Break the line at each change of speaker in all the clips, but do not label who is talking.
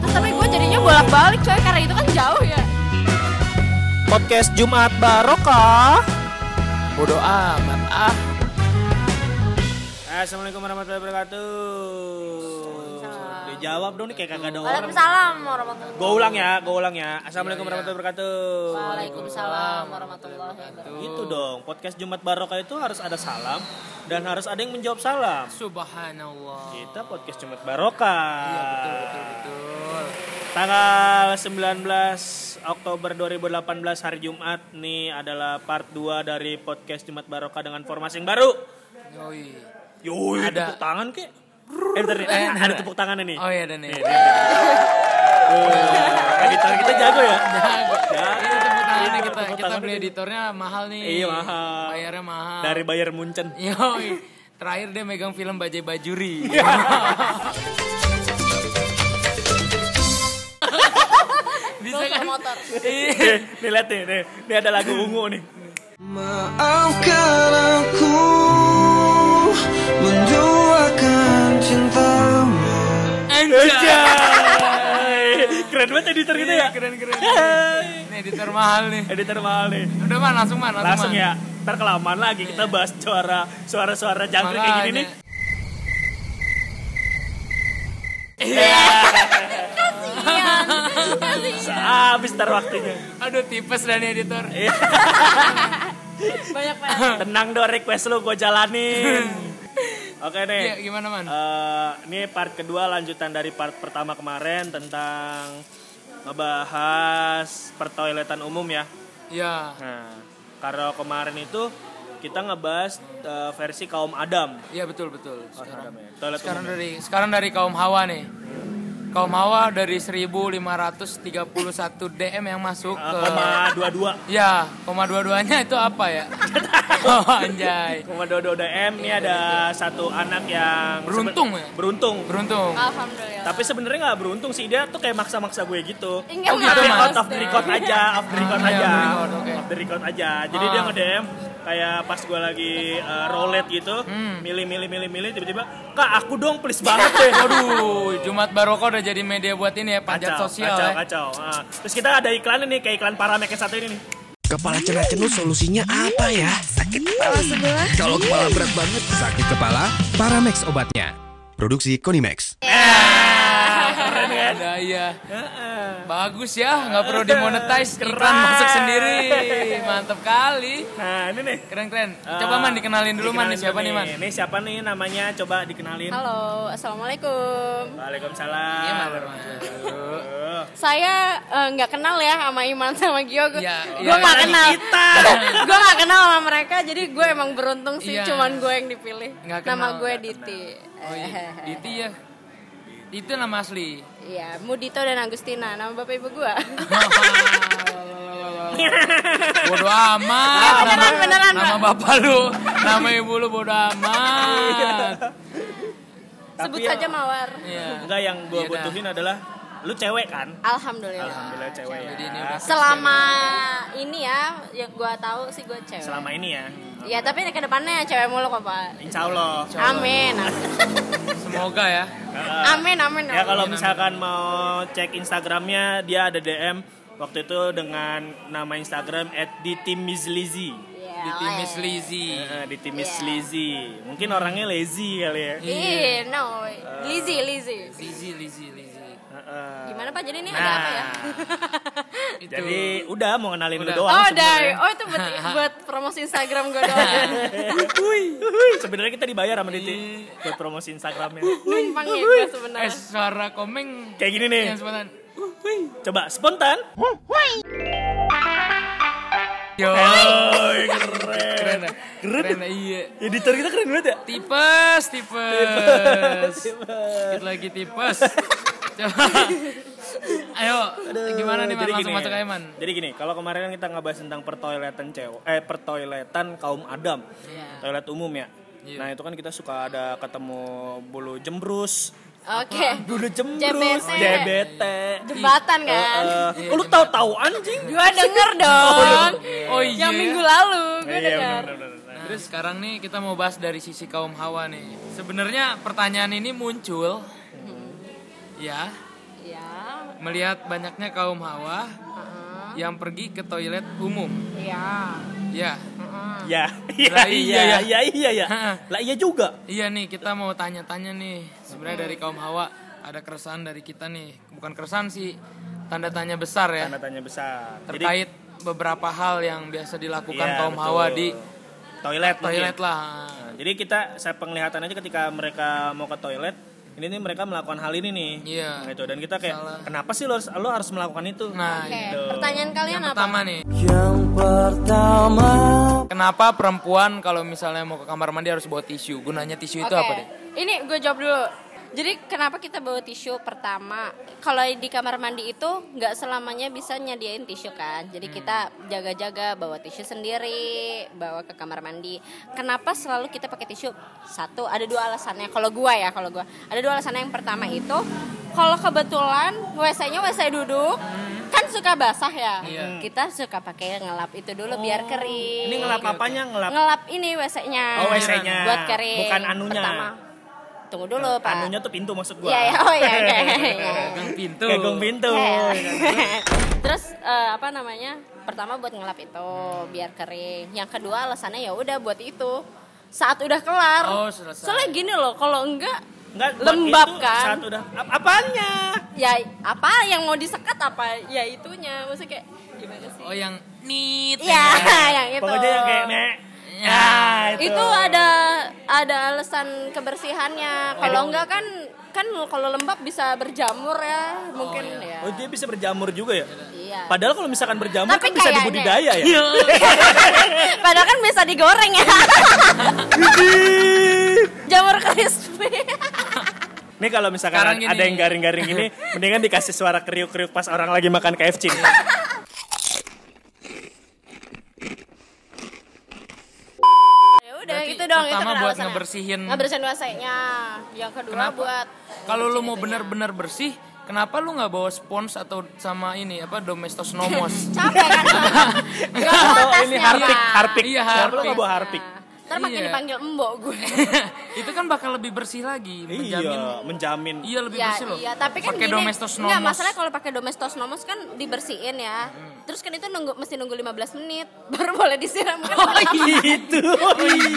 eh, jadinya bolak-balik coy karena itu kan jauh ya
Podcast Jumat Barokah. Bodoh amat ah. Assalamualaikum warahmatullahi wabarakatuh. Dijawab dong nih kayak kagak ada orang.
Waalaikumsalam warahmatullahi
Gue ulang ya, gue ulang ya. Assalamualaikum
Iya,
warahmatullahi wabarakatuh.
Waalaikumsalam warahmatullahi wabarakatuh
Gitu dong. Podcast Jumat Barokah itu harus ada salam dan harus ada yang menjawab salam.
Subhanallah.
Kita podcast Jumat Barokah.
Iya betul betul betul.
Tanggal 19 Oktober 2018 hari Jumat nih adalah part 2 dari podcast Jumat Barokah dengan formasi yang baru.
Yoi.
Yoi, ada
Ada-
tepuk tangan kek. Eh, bentar nih,
Eh,
ada,
bentar.
ada tepuk tangan nih.
Oh iya dan nih.
Eh, Editor kita jago ya.
Nah. Ini tepuk tangannya
Iya,
kita
tepuk
kita
tangan
beli
itu.
editornya mahal nih.
Iya, mahal.
Bayarnya mahal.
Dari Bayern Munchen.
Yoi. Terakhir dia megang film Bajai Bajuri. Bisa kan?
motor
Iya.
Nih, nih lihat nih, nih. Ini ada lagu ungu nih.
Maafkan aku menduakan cintamu
Iya.
Anjay. Iya. Keren banget editor kita ya.
Keren keren.
Hai.
Ini editor mahal nih.
Editor mahal nih.
Udah mah langsung mah langsung.
Langsung
Man.
ya. Ntar kelamaan lagi kita bahas suara suara-suara jangkrik kayak gini nih.
Iya.
kasihan kasihan
Habis ntar waktunya.
Aduh tipes dan editor.
Iya.
banyak banget
Tenang do request lu gue jalanin. Oke nih.
Iya, gimana man?
Eh, ini part kedua lanjutan dari part pertama kemarin tentang ngebahas pertoiletan umum ya.
Iya.
Nah, karena kemarin itu kita ngebahas eh, versi kaum Adam.
Iya betul betul. Sekarang,
Adam ya. Toilet
iya. sekarang
umum.
dari sekarang dari kaum Hawa nih. Kaum Hawa dari 1531 DM yang
Eh,
masuk ke
koma dua dua
Ya, koma dua-duanya itu apa ya? oh, anjay.
koma dua dua DM ini ada satu anak yang sebe-
Beruntung ya?
beruntung
Beruntung.
alhamdulillah
tapi sebenarnya nggak beruntung sih dia tuh kayak maksa-maksa gue gitu
Enggak,
Oh, gitu,
tapi
Mas.
out of the record aja off the record
Ah, iya,
aja
off the record, oke.
off the record aja jadi
Ah.
dia nge DM kayak pas gue lagi uh, roulette gitu
Hmm.
milih milih milih milih tiba-tiba kak aku dong please banget deh
Waduh, Jumat Baroko udah jadi media buat ini ya, pajak sosial
kacau,
ya.
kacau. Ah. terus kita ada iklannya nih kayak iklan paramek yang satu ini nih
Kepala cenut-cenut solusinya apa ya? Sakit kepala sebelah. Kalau kepala berat banget, sakit kepala, Paramex obatnya. Produksi Konimax.
keren kan
Ada ya.
Heeh.
Bagus ya, nggak perlu dimonetize, iklan masuk sendiri. Mantap kali.
nah ini nih
Keren-keren. Coba
Ah,
man dikenalin dulu man,
Dikenalin
nih, siapa
dulu
nih man?
Nih siapa nih namanya? Coba dikenalin.
halo assalamualaikum
Waalaikumsalam.
Iya, Man.
Aduh.
saya eh, nggak kenal ya sama Iman sama Gio gue
Iya,
gue
iya.
nggak kenal
Kita.
gue nggak kenal sama mereka jadi gue emang beruntung sih
Iya.
cuman gue yang dipilih
Nggak
nama
kenal,
gue
nggak
Diti Eh,
Oh iya, Diti ya. Itu nama asli.
Iya, Mudito dan Agustina, nama bapak ibu gua.
bodo amat.
Nah, Beneran,
Nama-
beneran,
Nama
Pak. Iya.
bapak lu, nama ibu lu bodo amat.
Sebut
Tapi ya-
saja Mawar.
Iya.
Enggak yang gue
Iya dah.
butuhin adalah lu cewek kan?
Alhamdulillah.
Alhamdulillah cewek ya.
Jadi ini udah fix
Selama ini ya, yang gua tahu sih gua cewek.
Selama ini ya.
Ya, tapi ke depannya cewek mulu kok, Pak.
Insya Allah.
Amin. amin.
ya. Semoga ya.
Amin, amin.
Ya kalau
amin.
misalkan mau cek Instagramnya dia ada DM waktu itu dengan nama Instagram @ditimizlizi.
Iya,
Diti
oh,
Miss
iya.
Lizzy.
Nah, ditimizlizi. Mungkin orangnya lazy kali ya.
Iya, Ih, no. Lizzy, Lizzy.
Lizzy, Lizzy, Lizzy.
Heeh.
Gimana, Pak? Jadi ini
Nah.
ada apa ya?
Itu.
Jadi udah mau kenalin lu
Udah.
doang.
Oh, dari.
sebenarnya.
Oh, itu buat, buat promosi Instagram gua doang.
Sebenarnya kita dibayar sama Diti buat promosi Instagramnya.
Numpang ya gua
Eh,
sebenarnya.
suara komeng
Kayak gini nih.
yang spontan.
Coba spontan.
Yo.
Oi,
Keren,
keren.
ya? keren, ya? iya.
Editor kita keren banget ya.
Tipes, tipes. Sedikit lagi tipes. Coba. Ayo, gimana nih
Eh,
man?
Jadi
Langsung
gini, ya.
masuk aja man.
Jadi gini, kalau kemarin kan kita ngebahas tentang pertoiletan cewek, eh pertoiletan kaum Adam,
Iya.
toilet umum ya. Nah itu kan kita suka ada ketemu bulu jembrus,
Oke.
bulu jembrus,
JBT.
JBT.
Jembatan kan?
Iya,
Eh, oh, lu tahu-tahu anjing?
Gua denger dong.
Oh iya.
Yang minggu lalu gue
Iya,
denger.
benar-benar.
Nah, Terus sekarang nih kita mau bahas dari sisi kaum hawa nih. Sebenarnya pertanyaan ini muncul. Ya,
Ya,
melihat banyaknya kaum hawa yang pergi ke toilet umum.
Iya.
Ya,
Ya,
Lah
iya,
iya,
iya,
ya.
iya, iya, iya.
Hah.
Lah iya juga.
iya nih kita mau tanya-tanya nih sebenarnya dari kaum hawa ada keresahan dari kita nih, bukan keresahan sih tanda tanya besar ya
Tanda tanya besar. Jadi,
terkait beberapa hal yang biasa dilakukan
iya,
kaum
betul.
hawa di
toilet.
toilet
mungkin.
lah.
Nah, jadi kita saya penglihatan aja ketika mereka mau ke toilet, ini nih mereka melakukan hal ini nih.
Iya.
Nah, Itu dan kita kayak
Salah.
kenapa sih lo harus lo harus melakukan itu?
Nah,
Oke, pertanyaan kalian
yang
apa?
pertama nih. Kenapa perempuan kalau misalnya mau ke kamar mandi harus bawa tisu? Gunanya tisu itu
Oke.
apa deh?
Ini gue jawab dulu. Jadi kenapa kita bawa tisu pertama? Kalau di kamar mandi itu nggak selamanya bisa nyediain tisu kan.
Hmm.
Jadi kita jaga-jaga bawa tisu sendiri, bawa ke kamar mandi. Kenapa selalu kita pakai tisu? Satu, ada dua alasannya. Kalau gua ya, kalau gua ada dua alasannya. Yang pertama itu kalau kebetulan WC-nya WC duduk, kan suka basah ya.
Hmm. Iya. Oh.
Kita suka pakai ngelap itu dulu biar kering.
Ini ngelap apanya? Ngelap
ngelap ini WC-nya.
Oh, WC-nya.
Buat kering.
Bukan anunya. Oh,
Pertama. Tunggu dulu, Pak.
anunya tuh pintu maksud gua.
Iya, iya, oh iya, oke. Iya.
Gang pintu.
Gagang pintu. gitu.
Terus eh, apa namanya? Pertama buat ngelap itu biar kering. Yang kedua alasannya ya udah buat itu. Saat udah kelar.
Oh, selesai.
Soalnya gini loh, kalau enggak
Enggak buat
lembab
itu
kan.
Saat udah ap- apanya?
Ya apa yang mau disekat apa ya itunya. Maksudnya kayak gimana sih?
Oh yang Iya. nit.
Ya, yang
Iya.
itu.
Pokoknya yang kayak nek.
Iya.
Ya, itu.
itu ada ada alasan kebersihannya kalau enggak kan kan kalau lembab bisa berjamur ya mungkin
iya.
ya
Oh, dia bisa berjamur juga ya?
iya
Padahal kalau misalkan berjamur kan
Tapi
bisa
kayaknya-
dibudidaya ya.
iya.
padahal kan bisa digoreng ya jamur crispy
Nih kalau misalkan
Sekarang
ada
gini.
yang garing-garing gini, mendingan dikasih suara kriuk-kriuk pas orang lagi makan KFC.
ya udah
Berarti
itu dong itu
pertama
kan
buat
alasannya.
ngebersihin-
ngebersihin wc-nya yang kedua
Kenapa?
buat
Kalau lu mau benar-benar bersih, kenapa lu nggak bawa spons atau sama ini apa domestos nomos?
capek kan Nggak mau
Oh,
tasnya,
ini harpik,
Pak.
harpik.
Iya,
Kenapa lo
harpik.
nggak bawa harpik?
Nah, ntar makin
Iya.
dipanggil embok gue
itu kan bakal lebih bersih lagi,
Iya,
menjamin.
menjamin.
Iya lebih
ya,
bersih loh.
Iya, tapi kan
pakai
gini,
domestos nomos.
Enggak, masalah kalau pakai domestos nomos kan dibersihin ya. Terus kan itu nunggu mesti nunggu 15 menit baru boleh disiram kan.
Oh, iya.
Gitu.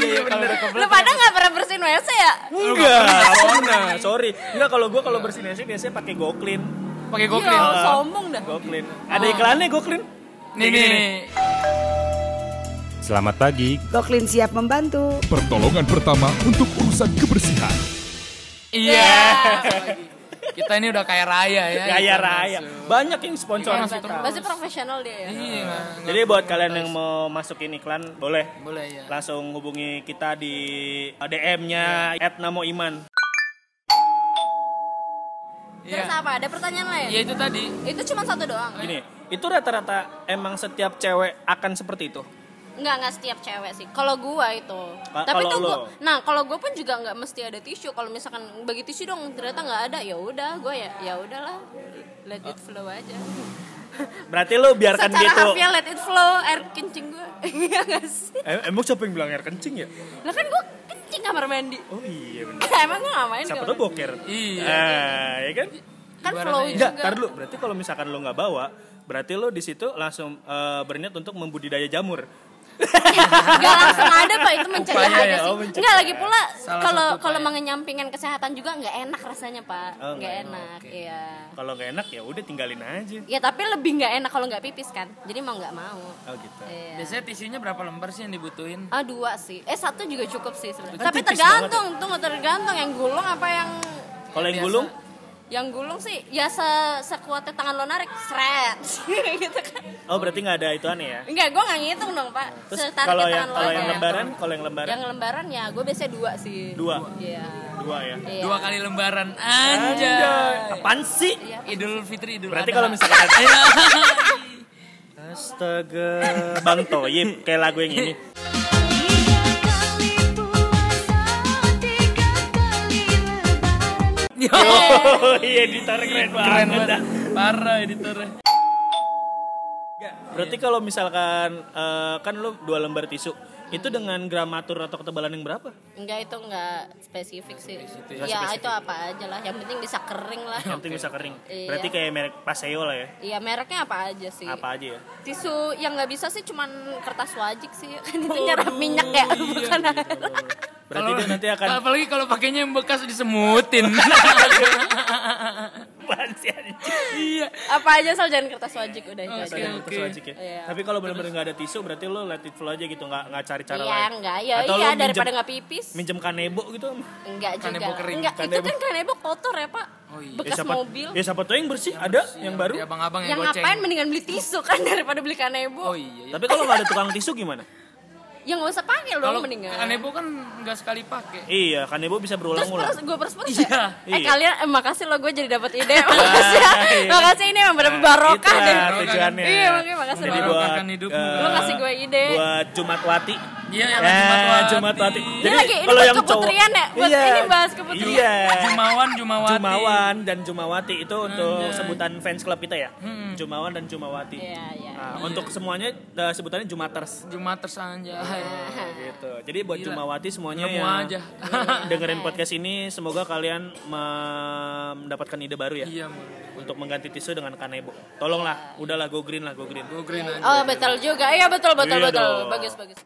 Iya,
Kalau udah kebelet ya.
Lu pada nggak pernah bersihin WC ya?
Enggak, pernah. Sorry. Enggak kalau gua kalau bersihin WC biasanya pakai Go Clean.
pakai
Iya,
gokil.
sombong dah.
Go Clean. Ada iklannya Go Clean?
Oh. Nih nih.
Selamat pagi.
Goklin siap membantu.
Pertolongan pertama untuk urusan kebersihan.
Iya. Kita ini udah kaya raya ya.
Gaya
Iklan
raya.
masuk.
Banyak yang sponsor
Iklan
kita.
Pasti profesional dia ya.
Iya.
Jadi buat kalian yang mau masukin iklan boleh
Boleh ya.
langsung hubungi kita di DM-nya @namoiman.
Iya.
Terus apa? Ada pertanyaan lain?
Iya itu tadi.
Itu cuma satu doang.
Gini, itu rata-rata emang setiap cewek akan seperti itu.
Enggak, enggak setiap cewek sih. Kalau gua itu.
Ka-
Tapi
kalau
tuh
lu?
gua, nah, kalau gua pun juga nggak mesti ada tisu. Kalau misalkan bagi tisu dong ternyata nggak ada, ya udah gua ya ya udahlah. Let it flow aja.
Berarti lu biarkan
Secara
gitu.
harfiah let it flow air kencing gue. Iya gak sih?
Em- emang siapa yang bilang air kencing ya?
Lah kan gue kencing kamar mandi.
Oh iya benar.
Emang gue nggak main
Siapa
kamar
tuh
mandi.
boker?
Iya.
Ah, ya kan?
Kan flow
Ibaratnya
juga.
Enggak, tar dulu. Berarti kalau misalkan lo nggak bawa, berarti lo di situ langsung eh, berniat untuk membudidaya jamur.
Enggak langsung ada Pak itu mencegah
Upaya
aja
ya,
sih.
oh, mencegah.
Enggak lagi pula
Salah
kalau
satu upaya.
kalau mengenyampingkan kesehatan juga nggak enak rasanya Pak.
Oh,
Nggak
nggak
enak. Iya.
Kalau nggak enak ya udah tinggalin aja.
Ya tapi lebih nggak enak kalau nggak pipis kan. Jadi mau nggak mau.
Oh gitu.
Iya.
Biasanya tisunya berapa lembar sih yang dibutuhin?
Ah dua sih. Eh satu juga cukup sih sebenarnya.
Kan
Tapi
tipis
tergantung, tunggu tergantung yang gulung apa yang
Kalau yang
Biasa.
gulung,
yang gulung sih ya se sekuatnya tangan lo narik seret gitu kan
oh berarti nggak ada itu aneh ya.
Enggak, gue nggak ngitung dong pak.
Terus
Setariknya
kalau
tangan
yang
lo
kalau
aja.
yang lembaran, kalau yang lembaran
Yang lembaran ya, gue biasanya dua sih.
dua,
Iya.
dua ya. Iya.
Iya.
Dua kali lembaran. Anjay.
Apaan sih?
Iya,
Idul Fitri Idul
Berarti
Adha.
kalau misalkan ada-
Iya.
Astaga, Bang Toyib kayak lagu yang ini.
Yo.
Oh iya, ditarik keren
Keren
banget. dah.
banget. Parah editornya.
Iya. Berarti kalau misalkan eh, kan lu dua lembar tisu, Itu dengan gramatur atau ketebalan yang berapa?
Enggak itu enggak spesifik sih.
Nggak
Ya itu apa aja lah. Yang penting bisa kering lah.
Yang penting bisa kering.
Iya.
Berarti kayak merek Paseo lah ya.
Iya mereknya apa aja sih?
Apa aja ya?
Tisu yang nggak bisa sih cuman kertas wajik sih. Kan itu nyerap minyak ya bukan air.
Berarti
Kalau-
dia nanti akan
apalagi kalau pakainya yang bekas disemutin.
Apaan sih, anjing?
iya.
apa aja asal jangan kertas wajik udah itu aja.
Ada yang terus wajik ya.
Iya.
Tapi kalau benar-benar nggak ada tisu, berarti lo let it flow aja gitu, nggak nggak cari cara
Iya
lain.
enggak ya
Atau
iya
lo
daripada
minjem-
nggak pipis.
Minjem kanebo gitu.
Enggak juga.
Kanebo kering.
Enggak,
Kanebo.
itu kan kanebo kotor ya, Pak.
Oh, iya.
Ya
Bekas
siapa,
mobil.
ya siapa tuh yang bersih? Ada yang baru.
Ada abang-abang yang,
yang
goceng.
ngapain mendingan beli tisu kan daripada beli kanebo.
Oh iya. iya.
Tapi kalau nggak ada tukang tisu gimana?
Ya nggak usah pakai loh
Kalau
mendingan.
kanebo kan nggak sekali
ya.
pakai.
Iya, kanebo bisa
Terus pers,
berulang-ulang.
gue pers pers
Iya,
Eh
iya.
kalian, eh, makasih lo gue jadi dapat ide. makasih, ya.
iya.
makasih ini emang bener barokah
Itulah
deh.
Gitu tujuannya.
Iya, makanya makasih
Jadi
lo.
buat-
buat
Barokahkan hidupmu.
eh,
Lo ngasih gue ide.
Buat Jumatwati.
Iya, yang
Eh,
Jumatwati.
Jumatwati.
Ini lagi ini buat keputrian ya, buat
Iya.
ini bahas keputrian.
Iya.
Jumawan, Hmm, iya. Jumawati.
Jumawan dan Jumawati itu untuk
Anjay.
sebutan fans club kita ya.
Hmm.
Jumawan dan Jumawati.
Iya, iya.
Nah, untuk semuanya eh, sebutannya Jumaters
Jumat tersanja.
Ah.
gitu. Jadi buat
Gila.
Jumawati semuanya
Nemu
yang
aja.
dengerin podcast ini semoga kalian me- mendapatkan ide baru ya
Iya, Bang.
untuk mengganti tisu dengan kanebo. Tolonglah, udahlah go green lah, go green.
Gue green aja.
Oh betul juga, iya betul betul
Iya
betul,
dong.
bagus bagus.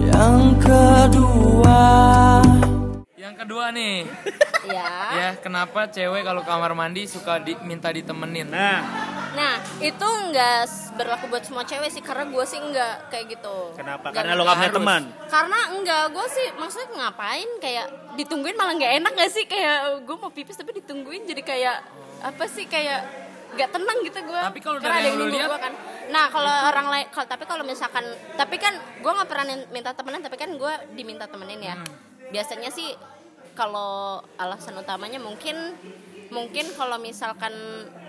Yang kedua
Yang kedua nih,
Ya.
ya kenapa cewek kalau kamar mandi suka di- minta ditemenin?
Nah,
Nah itu nggak s- berlaku buat semua cewek sih, karena gue sih nggak kayak gitu.
kenapa?
Nggak-
Karena lo gak punya
harus.
teman.
Karena enggak, gue sih maksudnya ngapain kayak ditungguin malah nggak enak gak sih kayak gue mau pipis tapi ditungguin jadi kayak apa sih kayak nggak tenang gitu gue.
Tapi kalau
Karena
dari yang lu
nunggu
lihat-
gua kan. Nah kalau orang lain, kalau tapi kalau misalkan, tapi kan gue nggak pernah nin- minta temenan, tapi kan gue diminta temenin ya.
Hmm.
Biasanya sih kalau alasan utamanya mungkin mungkin kalau misalkan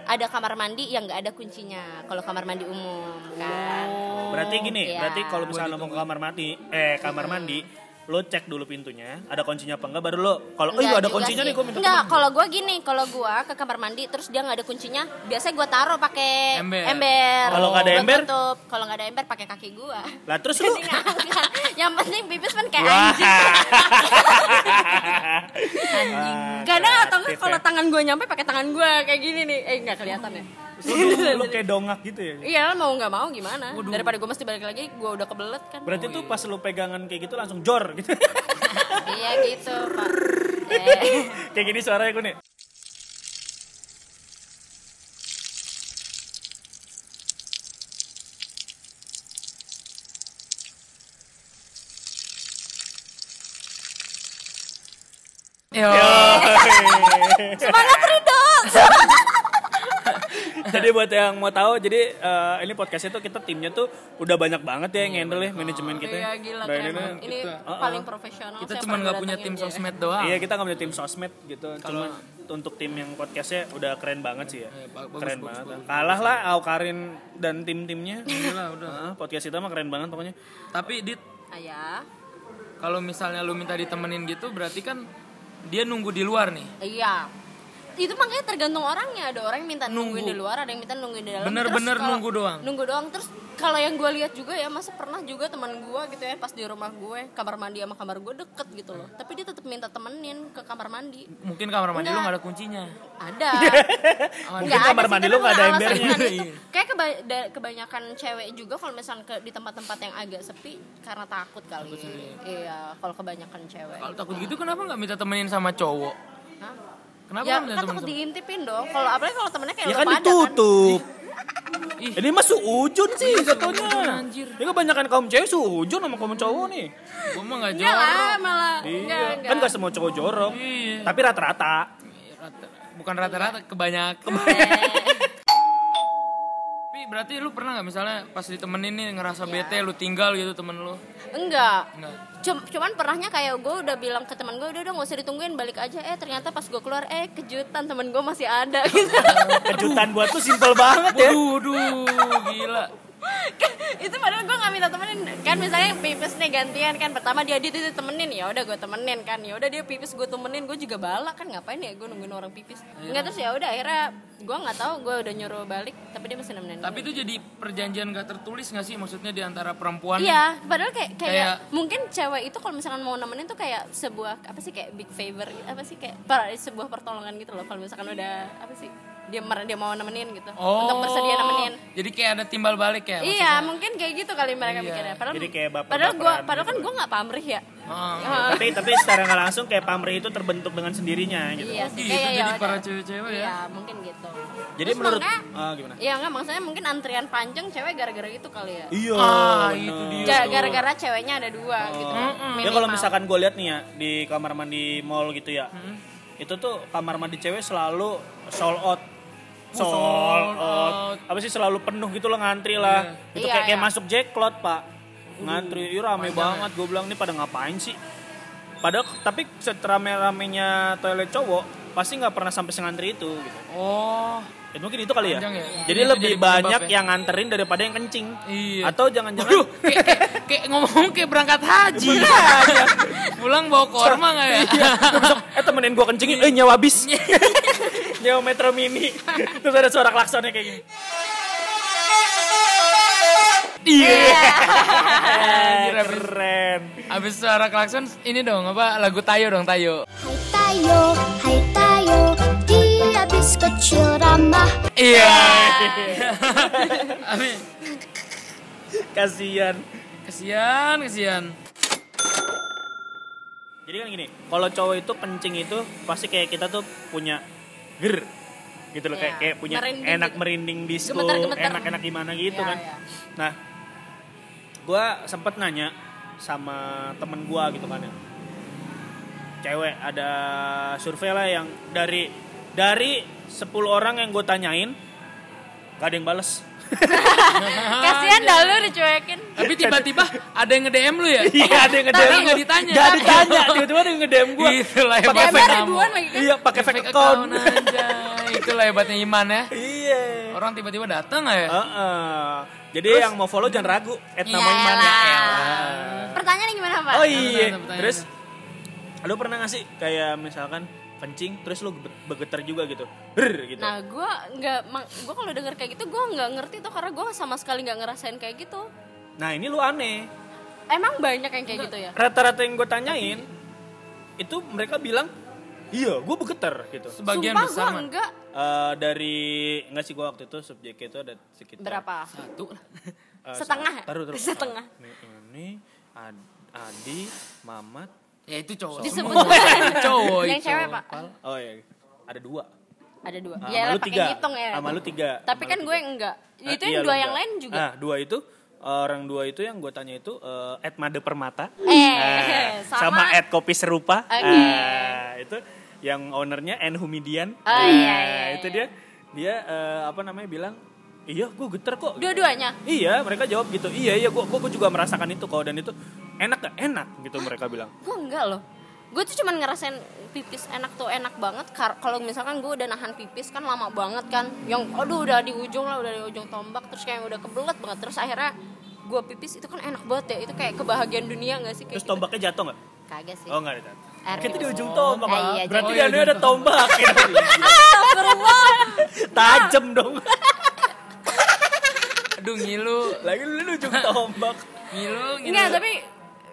ada kamar mandi yang nggak ada kuncinya kalau kamar mandi umum kan
Berarti gini,
Iya. gitu.
berarti kalau misalnya lo mau ke kamar mandi, eh kamar mandi, lo cek dulu pintunya, ada kuncinya apa enggak baru lo kalau oh iya
Enggak
ada
juga
kuncinya
sih.
nih gue minta
Enggak,
teman.
kalau gue gini, kalau gue ke kamar mandi terus dia nggak ada kuncinya, biasanya gue taruh pakai
Ember.
ember.
Kalau nggak ada
Gua
ember?
tutup. kalau nggak ada ember pakai kaki gue.
Lah terus lo
Yang penting pipis kan kayak
Wah.
anjing.
Anjing.
Kadang atau enggak kalau tangan gue nyampe pakai tangan gue kayak gini nih, eh nggak kelihatan ya.
lu, lu kayak dongak gitu ya.
Iya mau nggak mau gimana? Daripada gue mesti balik lagi, gue udah kebelet kan.
Berarti tuh pas lu pegangan kayak gitu langsung jor gitu.
iya gitu pak. Eh.
kayak gini suaranya ya. gue nih.
Yo.
Iya.
Semangat Rido.
jadi buat yang mau tahu, jadi eh, ini podcastnya tuh kita timnya tuh udah banyak banget ya yang handle ya manajemen kita.
Iya gila
Nah,
keren
ini-
banget. Ini paling profesional.
Kita
saya
cuma
pernah
nggak punya
datengin
tim
dia.
sosmed doang.
Iya kita nggak punya tim sosmed gitu, cuma untuk tim yang podcastnya udah keren banget sih ya.
Iya, ba- bagus,
keren
bagus,
banget.
bagus,
Kalah lah Aukarin dan tim-timnya.
Udah, udah.
Heeh, podcast kita mah keren banget pokoknya.
Tapi dit,
Ayah.
kalau misalnya lu minta ditemenin gitu, berarti kan dia nunggu di luar nih.
Iya. Itu makanya tergantung orangnya. Ada orang yang minta
Nunggu.
nungguin di luar, ada yang minta nungguin di dalam.
Bener-bener
Terus kalau-
nunggu doang.
Nunggu doang. Terus kalau yang gue lihat juga ya, masa pernah juga teman gue gitu ya pas di rumah gue, kamar mandi sama kamar gue deket gitu loh. Tapi dia tetap minta temenin ke kamar mandi.
Mungkin kamar mandi lu
Enggak.
nggak ada kuncinya.
Ada.
Mungkin kamar mandi lu nggak ada Iya. embernya.
Kayak keba- da- kebanyakan cewek juga kalau misalnya ke- di tempat-tempat yang agak sepi karena takut kali. iya, kalau kebanyakan cewek.
Kalau takut gitu kenapa nggak minta temenin sama cowok?
Hah?
Kenapa
ya
nggak minta
kan
temenin
takut
sama?
diintipin dong. Kalau apalagi kalau temennya kayak
Ya
udah
kan
pada
ditutup.
Ih.
Ini mah suujun sih jatuhnya.
anjir.
Ya kebanyakan kaum cewek suujun sama kaum cowok nih.
Gua mah nggak
Enggak Ya lah,
jorok.
malah enggak,
Iya.
enggak.
Kan gak semua cowok jorok.
Iya.
Tapi rata-rata.
Iya, rata- Bukan rata-rata, kebanyakan. Tapi berarti lu pernah nggak misalnya pas ditemenin nih ngerasa
Iya.
bete, lu tinggal gitu temen lu?
Enggak.
Enggak.
Cum- cuman pernahnya kayak gue udah bilang ke teman gue udah udah gak usah ditungguin balik aja eh ternyata pas gue keluar eh kejutan teman gue masih ada gitu. Iya.
Kejutan buat tuh simpel banget ya.
Waduh, waduh, gila.
itu padahal gue nggak minta temenin kan misalnya pipis nih gantian kan pertama dia dia, dia temenin ya udah gue temenin kan ya udah dia pipis gue temenin gue juga balak kan ngapain ya gue nungguin orang pipis
Iya.
nggak terus ya udah akhirnya gue nggak tahu gue udah nyuruh balik tapi dia masih nemenin
Tapi itu jadi perjanjian gak tertulis gak sih maksudnya di antara perempuan?
Iya, padahal kayak kayak,
Kayak-
mungkin cewek itu kalau misalkan mau nemenin tuh kayak sebuah apa sih kayak big favor gitu, apa sih kayak per- sebuah pertolongan gitu loh kalau misalkan udah apa sih dia mer- dia mau nemenin gitu
Oh.
untuk bersedia nemenin.
Jadi kayak ada timbal balik ya?
Iya, mungkin kayak gitu kali mereka
Iya.
mikirnya. Padahal
Jadi kayak baper-
padahal gua
baperan
padahal kan
gitu.
gua nggak pamrih ya.
Oh,
tapi tapi secara nggak langsung kayak pamrih itu terbentuk dengan sendirinya gitu
Iya,
gitu,
kayak
jadi
udah.
para cewek-cewek ya?
Iya, mungkin gitu.
jadi
Terus
menurut
karena-
Ah, gimana
Iya, enggak maksudnya mungkin antrian panjang cewek gara-gara itu kali ya.
iya
Ah,
bener.
itu dia.
Ja- Gara-gara ceweknya ada dua gitu.
Oh.
ya kalau misalkan gue lihat nih ya di kamar mandi mall gitu ya itu tuh kamar mandi cewek selalu sold out sold, out. apa sih selalu penuh gitu lah ngantri lah itu
Iya,
kayak, kayak
iya.
masuk jackpot pak ngantri iya rame banget gue bilang nih pada ngapain sih padahal tapi seterame-ramenya toilet cowok pasti nggak pernah sampai sengantri itu gitu
Oh,
Ya, mungkin itu kali ya.
Panjang ya?
Jadi
Iya, itu
lebih
jadi penyebab
banyak
ya.
yang nganterin daripada yang kencing.
Iya.
Atau jangan-jangan
kayak, kayak, kayak ngomong kayak berangkat haji. Pulang bawa korma gak ya?
Iya.
eh temenin gua kencingin, eh nyawa habis. nyawa metro mini. Terus ada suara klaksonnya kayak gini. Iya. Keren.
Abis suara klakson ini dong apa lagu Tayo dong Tayo.
Hai tayo, hai tayo, dia bis kecil ramah.
Iya. Amin.
Kasihan.
Kesian, kesian.
Jadi kan gini, kalau cowok itu kencing itu pasti kayak kita tuh punya ger gitu loh kayak
Iya.
kayak punya
Merinding
enak
gitu.
merinding disco,
Gemetar-gemetar.
enak-enak gimana gitu
Iya,
kan.
iya.
Nah, gua sempet nanya sama temen gua gitu kan ya. Cewek ada survei lah yang dari dari 10 orang yang gue tanyain gak ada yang bales.
Kasihan dah lu dicuekin.
Tapi tiba-tiba ada yang nge-DM lu ya?
Iya, ada yang
Padahal
ngedem.
nggak ditanya.
Gak ditanya, tiba-tiba ada yang ngedem gua.
Itulah
Pakai
hebatnya
fake-
DM-nya ribuan lagi kan.
Iya, pakai fake account.
anjay. Itulah hebatnya iman ya.
Iya.
Orang tiba-tiba datang gak ya?
Heeh. Jadi yang mau follow jangan ragu, add nama
Iya
Iman
lah.
ya.
Pertanyaannya gimana Pak?
Oh iya.
Pertanyaan, pertanyaan.
Terus lu pernah gak sih kayak misalkan kencing terus lu be- bergetar juga gitu. Brr gitu.
Nah gue nggak, gue kalau denger kayak gitu gue nggak ngerti tuh karena gue sama sekali nggak ngerasain kayak gitu.
Nah, ini lu aneh.
Emang banyak yang kayak gitu ya?
Rata-rata yang gue tanyain itu mereka bilang Iya, gue bergetar gitu.
Sebagian
Sumpah
besar
gue
man.
enggak
Eh, dari nggak sih gue waktu itu subjeknya itu ada sekitar
berapa?
Satu.
eh,
Setengah.
Taruh, taruh.
Setengah.
Ini, ini Ad- Adi, Mamat,
Ya itu cowok.
Disebut.
semua. cowok.
yang
itu.
cewek pak?
oh iya, ada dua.
Ada dua.
Ah,
ya
sama lu
lah pakai
tiga.
ngitung ya.
Sama lu tiga.
Tapi
Sama
kan
lu
gue
tiga.
enggak.
Eh,
Itu
iya, lu
yang dua
enggak.
yang lain juga.
Nah, dua itu orang dua itu yang gue tanya itu eh, Ed Made Permata.
Eh,
sama
sama.
Ed Kopi Serupa.
Oke.
Eh, itu yang ownernya N Humidian.
Oh, iya, iya,
Eh, itu dia dia eh, apa namanya bilang, "Iya, gue geter kok." Gitu.
Dua-duanya.
Iya, mereka jawab gitu. Iya, iya, gue gue juga merasakan itu kok dan itu enak gak? Enak gitu mereka bilang.
Gue enggak loh. Gue tuh cuman ngerasain pipis enak tuh enak banget. Kar- Kalau misalkan gue udah nahan pipis kan lama banget kan. Yang aduh udah di ujung lah, udah di ujung tombak. Terus kayak udah kebelet banget. Terus akhirnya gue pipis itu kan enak banget ya. Itu kayak kebahagiaan dunia gak sih? Kayak
Terus
gitu.
tombaknya jatuh nggak?
Kagak sih.
Oh nggak ada.
Air
Kita di
pipis.
ujung tombak.
Ah, iya,
Berarti
jadi-
di anunya ada tombak. gitu. Tajam dong.
Aduh ngilu.
Lagi lu di ujung tombak.
Ngilu, ngilu.
Enggak, tapi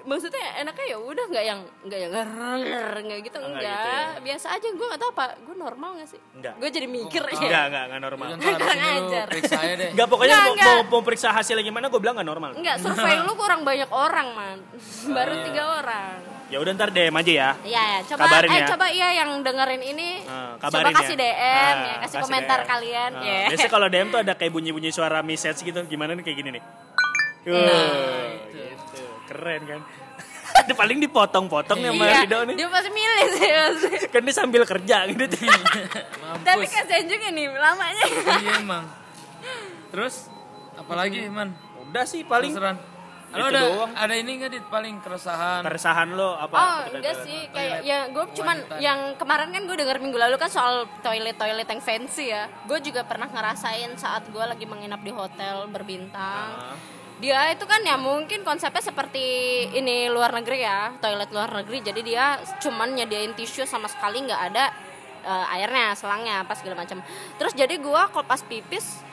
maksudnya enaknya ya udah nggak yang nggak yang ngerer nggak gitu
Nggak
enggak
gitu ya.
biasa aja gue nggak tahu apa gue normal nggak sih
Nggak.
gue jadi mikir ya
Enggak, enggak, enggak normal.
Jangan taruh sini lu,
Ajar.
periksa aja deh.
Enggak pokoknya
Nggak,
mau,
nggak.
mau, mau periksa hasilnya gimana gue bilang enggak normal.
Enggak, survei lu kurang banyak orang man baru
Iya.
tiga orang
Ya udah ntar DM aja ya.
Iya, ya, coba
Kabarin
eh
ya.
coba iya yang dengerin ini
Nah,
coba
kabarin
kasih
ya.
DM
Nah,
ya, kasih, komentar
DM.
kalian
Nah,
ya.
Biasanya kalau DM tuh ada kayak bunyi-bunyi suara message gitu. Gimana nih kayak gini nih.
Nah,
Wow, gitu. Keren kan. Dia paling dipotong-potong ya sama
Iya,
Rido nih.
dia pasti milih sih pasti.
Kan dia sambil kerja gitu.
Mampus.
Tapi kan- kasihan juga nih lamanya.
Iya emang. Terus apalagi man?
udah sih paling
Terseran. Lo
Itu
ada
doang.
ada ini nggak dit paling keresahan?
keresahan lo apa?
Oh
Ketika-
enggak sih, kayak ya gue
Wanita.
cuman yang kemarin kan gue denger minggu lalu kan soal toilet-toilet yang fancy ya Gue juga pernah ngerasain saat gue lagi menginap di hotel berbintang Dia itu kan ya mungkin konsepnya seperti ini luar negeri ya, toilet luar negeri Jadi dia cuman nyediain tisu sama sekali nggak ada eh, airnya, selangnya, apa segala macam Terus jadi gue kalau pas pipis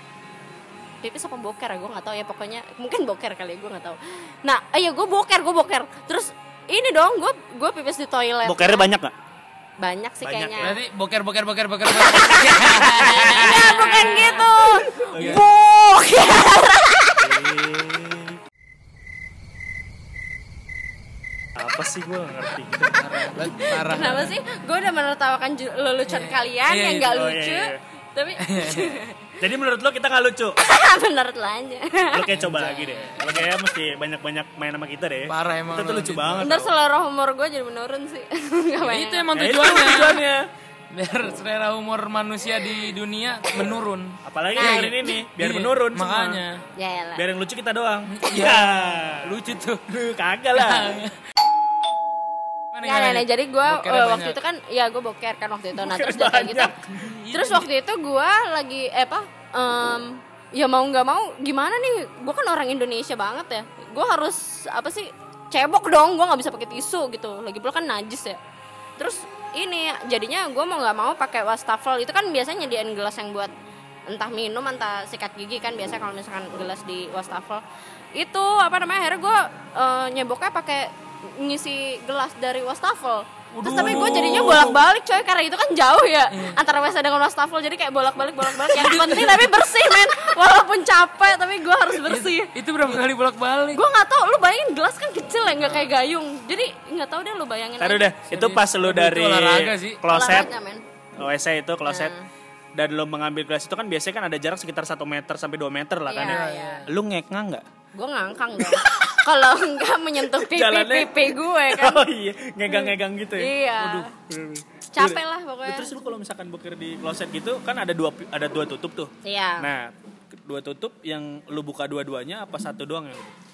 pipis apa boker ya gue nggak tahu ya pokoknya mungkin boker kali ya gue nggak tahu nah iya gue boker gue boker terus ini dong gue gue pipis di toilet
Bokernya banyak gak?
banyak sih
Banyak.
kayaknya
Berarti boker boker boker boker. boker.
enggak bukan gitu boker
Iya. Apa sih gue ngerti? gitu.
Parah.
kenapa sih gue udah menertawakan ju- lelucon kalian
Iya,
yang
iya.
nggak
Oh, iya,
lucu
iya.
tapi
Jadi menurut lo kita gak lucu?
menurut lo aja
Lo kayak coba lagi deh. Lo kayaknya mesti banyak-banyak main sama kita deh.
Parah emang gitu.
Kita tuh
lo,
lucu
Jin.
banget.
ntar seluruh humor gue jadi menurun sih Nggak
Ya,
banyak.
itu emang
Ya, itu
tujuannya.
tujuannya.
Biar selera humor manusia di dunia menurun.
Apalagi dengerin ini nih, biar
Iya,
menurun semua.
Makanya
ya elah.
Biar yang lucu kita doang.
Iya.
Ya.
lucu tuh.
Lu kagak lah.
Gimana,
Nggak,
gimana?
nenek. Ya, nah, Jadi gue
Bokernya
waktu
banyak.
itu kan, ya gue boker kan waktu itu. Nah
Boker
terus udah kayak gitu.
banyak.
Terus waktu itu gue lagi eh, apa? em, ya mau nggak mau, gimana nih? Gue kan orang Indonesia banget ya. Gue harus apa sih? Cebok dong. Gue nggak bisa pakai tisu gitu. Lagi pula kan najis ya. Terus ini jadinya gue mau nggak mau pakai wastafel itu kan biasanya nyediain gelas yang buat entah minum entah sikat gigi kan biasanya kalau misalkan gelas di wastafel itu apa namanya akhirnya gue nyeboknya pakai ngisi gelas dari wastafel terus tapi gue jadinya bolak balik coy karena itu kan jauh ya antara WC dengan wastafel jadi kayak bolak balik bolak balik yang penting tapi bersih men walaupun capek tapi gue harus bersih
Itu berapa kali bolak-balik?
gue nggak tahu lu bayangin gelas kan kecil ya nggak kayak gayung jadi nggak tahu deh lu bayangin
Taruh
aja.
deh, itu pas lu
Itu
dari
olahraga sih.
kloset,
Olahraga, men. Hmm.
WC itu kloset, dan lu mengambil gelas itu kan biasanya kan ada jarak sekitar 1 meter sampai 2 meter lah kan
Iya,
ya. Lu ngekang nggak?
gue ngangkang dong kalau enggak menyentuh pipi
Jalannya-
pipi gue kan
Oh iya, ngegang-ngegang gitu ya.
iya capek lah pokoknya
Terus lu kalau misalkan boker di kloset gitu kan ada dua ada dua tutup tuh.
iya
Nah, dua tutup yang lu buka dua-duanya apa satu doang yang lu buka?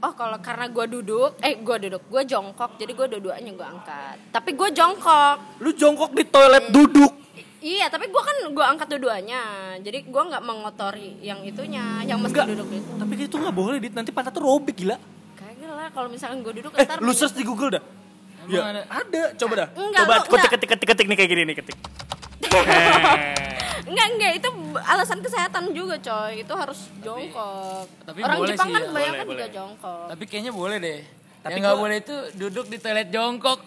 oh kalau karena gue duduk eh gue duduk gue jongkok jadi gue dua-duanya gue angkat tapi gue jongkok
Lu jongkok di toilet duduk.
I- iya tapi gue kan gue angkat dua-duanya jadi gue nggak mengotori yang itunya yang mesti
Enggak.
duduk itu
Tapi itu nggak boleh, Dit. Nanti pantat tuh robek gila.
kagak lah kalau misalkan gue duduk
Eh,
ntar
lu search di Google dah.
Emang
Ya, ada.
ada?
coba dah.
Enggak,
coba
lu-
ketik,
enggak.
ketik ketik ketik nih kayak gini nih ketik. Eh.
Enggak, enggak, itu alasan kesehatan juga coy Itu harus jongkok
tapi
Orang
boleh
Jepang
sih
kan
ya.
kebanyakan
Boleh,
juga
boleh.
jongkok
Tapi kayaknya boleh deh.
Tapi
yang nggak
gua-
boleh itu duduk di toilet jongkok.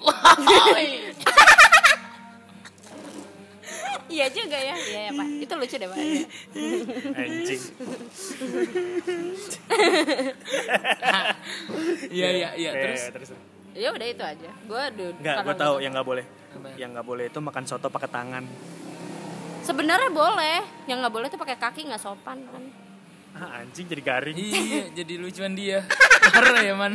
Iya juga ya, iya ya, Pak. Itu lucu deh Pak.
Anjing.
Iya iya iya.
Oke,
Terus
Ya udah itu aja. Gua duduk.
Enggak,
karena
gua tahu ya. yang nggak boleh.
Apa? ya?
Yang nggak boleh itu makan soto pakai tangan.
Sebenarnya boleh, yang nggak boleh tuh pakai kaki nggak sopan kan.
Ah, anjing jadi garing.
iya jadi lucuan dia. Parah ya man.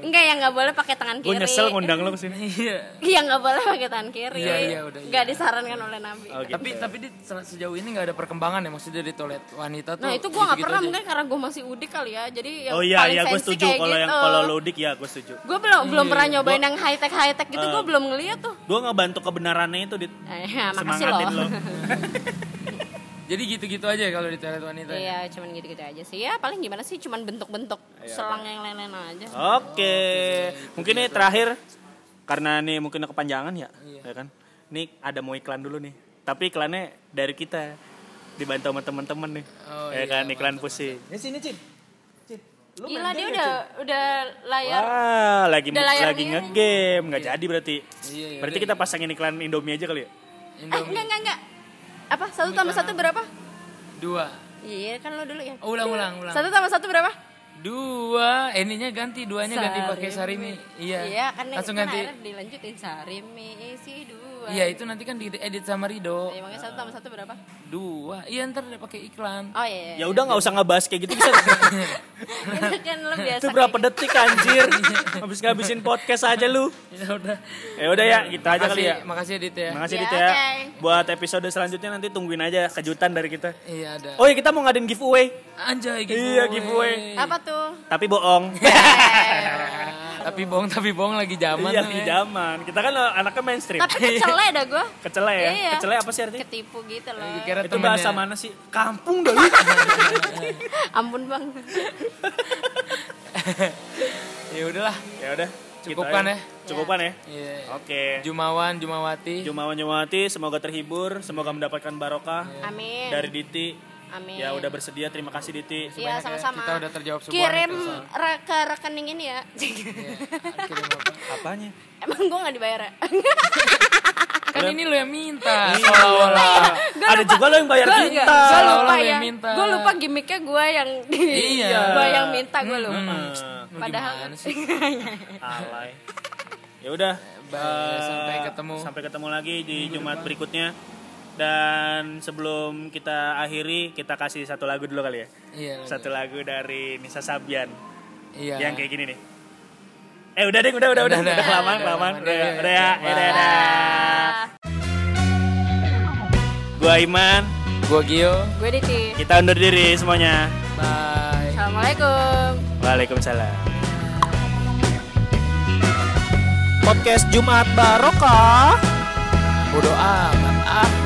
Enggak, yang nggak boleh pakai tangan
Gue
kiri.
nyesel ngundang lo kesini.
Iya.
Yang nggak boleh pakai tangan kiri.
Iya, iya, udah, iya.
Nggak disarankan oleh Nabi.
Oh, gitu.
Tapi tapi di se- sejauh ini nggak ada perkembangan ya maksudnya di toilet wanita tuh.
Nah itu gua nggak
gitu-gitu
pernah
aja.
mungkin karena gue masih udik kali ya jadi yang
Oh iya
paling
iya gue
fancy
setuju
kayak
kalau
gitu.
yang kalau lo dik ya gue setuju.
gue belum belum pernah
Iya,
nyobain
gua-
yang high tech high tech gitu
Eh.
gue belum ngeliat tuh
Gue ngebantu kebenarannya itu dit.
eh, ya, makasih
Semangatin
loh
lo.
Jadi gitu-gitu aja kalau di toilet wanita. ya.
iya cuman gitu gitu aja sih ya paling gimana sih cuman bentuk bentuk
Iya,
selang yang lain lain aja
Oke. Mungkin nih terakhir karena nih mungkin kepanjangan ya,
Iya.
ya kan. Nih ada mau iklan dulu nih. Tapi iklannya dari kita dibantu sama teman-teman nih.
Oh,
ya
iya,
kan iklan pusing.
Gila dia udah udah layar
Wah, lagi
Iya. Udah ya. layar
lagi
biru.
ngegame, nggak jadi berarti.
Iya, iya,
berarti
udah,
kita pasangin iklan Indomie aja kali ya.
Eh enggak
Indomie
enggak enggak Apa? Satu tambah satu berapa?
dua.
Iya kan lo dulu ya
Oh, ulang ulang ulang.
Satu tambah satu berapa?
Dua, ininya ganti, duanya ganti pakai
Sarimi.
sarimi. Iya.
Iya kan
Langsung
kan
ganti.
akhirnya dilanjutin Sarimi isi dua dua.
Iya itu nanti kan diedit sama Rido.
Emangnya Iya, satu tambah satu berapa?
Dua. Iya ntar dia pakai iklan.
Oh iya.
Ya udah nggak usah ngebahas kayak gitu bisa.
Itu kan lu biasa.
Itu berapa detik anjir? Habis ngabisin podcast aja lu.
Ya udah.
Ya udah ya, kita aja kali ya.
Makasih- Makasih Edit ya.
Makasih
Ya,
Dit ya.
oke.
Buat episode selanjutnya nanti tungguin aja kejutan dari kita.
Iya ada.
Oh ya kita mau ngadain giveaway,
Anjay
Iya, giveaway.
Apa tuh?
tapi bohong.
Iya, tapi bohong tapi bohong lagi zaman.
Iya,
tuh,
di
ya.
zaman. Kita kan anaknya mainstream.
Tapi kecele dah gue.
Kecele ya.
Iya.
Kecele apa sih artinya?
Ketipu gitu loh.
Dikira
Itu
temennya.
bahasa mana sih? Kampung dong.
Ampun bang.
Ya udahlah.
ya udah.
Cukupkan
gitu
ya.
aja. Cukupan ya.
Iya.
Oke.
Jumawan, Jumawati.
Iya,
Jumawan Jumawati, semoga terhibur, semoga mendapatkan barokah
Amin.
dari Diti.
Amin.
Ya udah bersedia, terima kasih Diti.
Iya
ya,
sama-sama.
Kita udah terjawab semua
Kirim
nih, Iya,
re- ke rekening ini ya.
Kirim apa?
Apanya?
Emang gue nggak dibayar ya?
kan ini lo yang
Iya.
minta.
Iya. Seolah-olah. Ada juga lo yang bayar
Gue
kita.
lupa
Lo yang
ya.
minta.
Gue lupa gimmicknya gue yang
Iya.
gue yang minta gue lupa.
Hmm.
Lu
Padahal
gimana sih?
Alay. Ya udah.
Bye,
eh,
sampai ketemu.
Sampai ketemu lagi di Jumat berikutnya. Dan sebelum kita akhiri, kita kasih satu lagu dulu kali ya.
Iya.
Satu lagu dari Nisa Sabian
Iya.
yang kayak gini nih. Eh udah deh, udah udah udah, udah,
udah.
kelamaan,
Udah,
kelamaan,
udah,
udah,
udah,
udah ya,
udah.
udah, udah. Gua Iman,
Gua Gio.
gue Diti.
kita undur diri semuanya.
Bye.
Assalamualaikum.
Waalaikumsalam. Podcast Jumat Barokah.
Bodo amat ah.